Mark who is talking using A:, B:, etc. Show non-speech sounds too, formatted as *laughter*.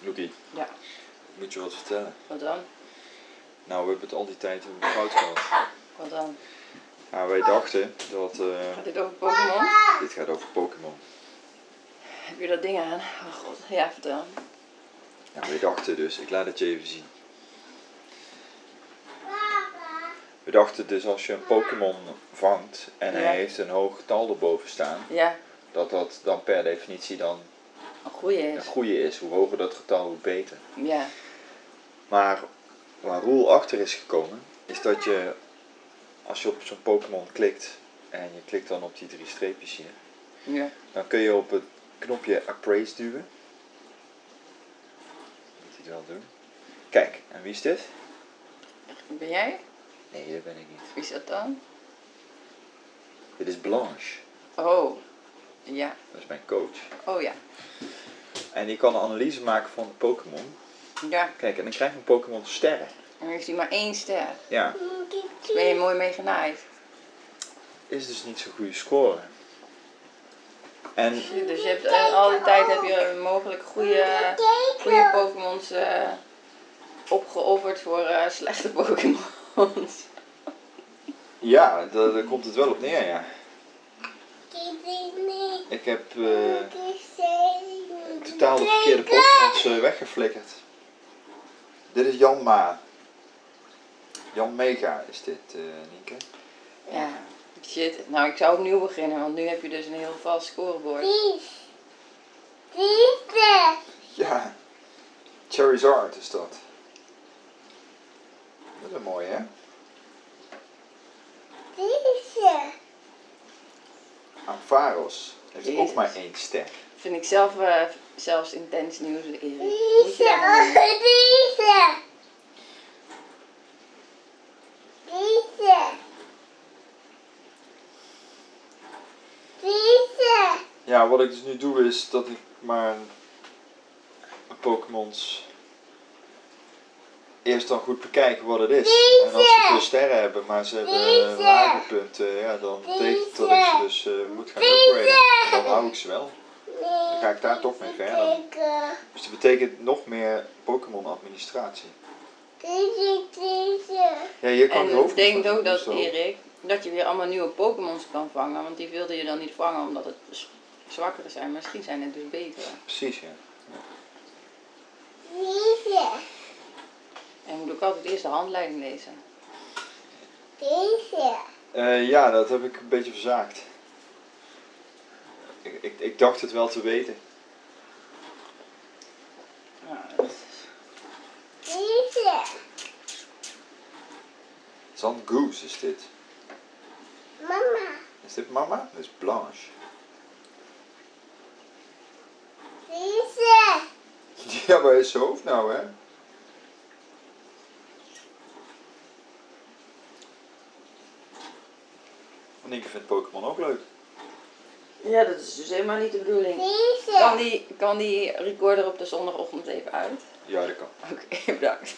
A: Trudy,
B: Ja,
A: ik moet je wat vertellen.
B: wat dan?
A: Nou, we hebben het al die tijd hebben we fout gehad.
B: Wat dan?
A: Nou, wij dachten dat... eh,
B: Gaat dit over Pokémon?
A: dit gaat over Pokémon.
B: Heb je dat ding aan? Oh god, ja, vertel.
A: Nou, wij dachten dus... Ik laat het je even zien. We dachten dus als je een Pokémon vangt en
B: Ja.
A: hij heeft een hoog getal erboven staan...
B: Ja,
A: dat dat dan per definitie dan
B: een goeie
A: een
B: is.
A: goede is. Hoe hoger dat getal, hoe beter.
B: Ja,
A: Maar waar Roel achter is gekomen, is dat je als je op zo'n Pokémon klikt en je klikt dan op die drie streepjes hier,
B: ja.
A: dan kun je op het knopje appraise duwen. Moet hij het wel doen. Kijk, en wie is dit?
B: Ben jij?
A: Nee, dat ben ik niet.
B: Wie is dat dan?
A: Dit is Blanche.
B: Oh, ja.
A: Dat is mijn coach.
B: Oh ja.
A: En die kan een analyse maken van de Pokémon.
B: Ja,
A: Kijk, en dan krijg je een Pokémon sterren.
B: dan heeft hij maar één ster.
A: Ja,
B: Ben je mooi mee genaaid?
A: is dus niet zo'n goede score. En
B: Dus je hebt eh, al die tijd heb je mogelijk goede, goede Pokémons eh, opgeofferd voor eh, slechte Pokémons.
A: ja, daar, daar komt het wel op neer, ja. Ik heb eh, totaal de verkeerde Pokémon's eh, weggeflikkerd. Dit is Jan Ma. Jan Mega is dit, eh Nienke.
B: Ja, shit. Nou, ik zou opnieuw beginnen, want nu heb je dus een heel vast scorebord.
A: Ja, Charizard is dat. Dat is een mooie, hè? Ampharos heeft ook
B: Jezus.
A: maar één ster.
B: Vind ik zelf eh, zelfs intens nieuws, Erik. Moet je daar nou mee?
A: Ja, wat ik dus nu doe is dat ik maar Pokémon's eerst dan goed bekijk wat het is. En als ze veel sterren hebben, maar ze hebben eh, lage punten, ja, dan betekent dat ik ze dus eh, moet gaan upgraden. Dan hou ik ze wel. Dan ga ik daar toch mee verder. Dus dat betekent nog meer Pokémon-administratie. Ja, hier kan
B: En
A: ik
B: het
A: hoofd niet
B: betekent
A: van doen,
B: ook dat,
A: dus
B: Erik, dat je weer allemaal nieuwe Pokémons kan vangen. Want die wilde je dan niet vangen omdat het z- zwakkere zijn. maar Misschien zijn het dus betere.
A: Precies, ja.
B: En moet ook altijd eerst de handleiding lezen.
A: Eh, ja, dat heb ik een beetje verzaakt. Ik, ik, ik dacht het wel te weten.
B: Ja, dat is-
A: Zangoose is dit.
C: Mama,
A: Is dit mama? Dat is Blanche. *laughs*
C: deze.
A: Ja, waar is zijn hoofd nou, hè? Want ik vind Pokémon ook leuk.
B: ja, dat is dus helemaal niet de bedoeling.
C: Deze.
B: Kan die, kan die recorder op de zondagochtend even uit?
A: Ja, dat kan.
B: Oké, *laughs* bedankt.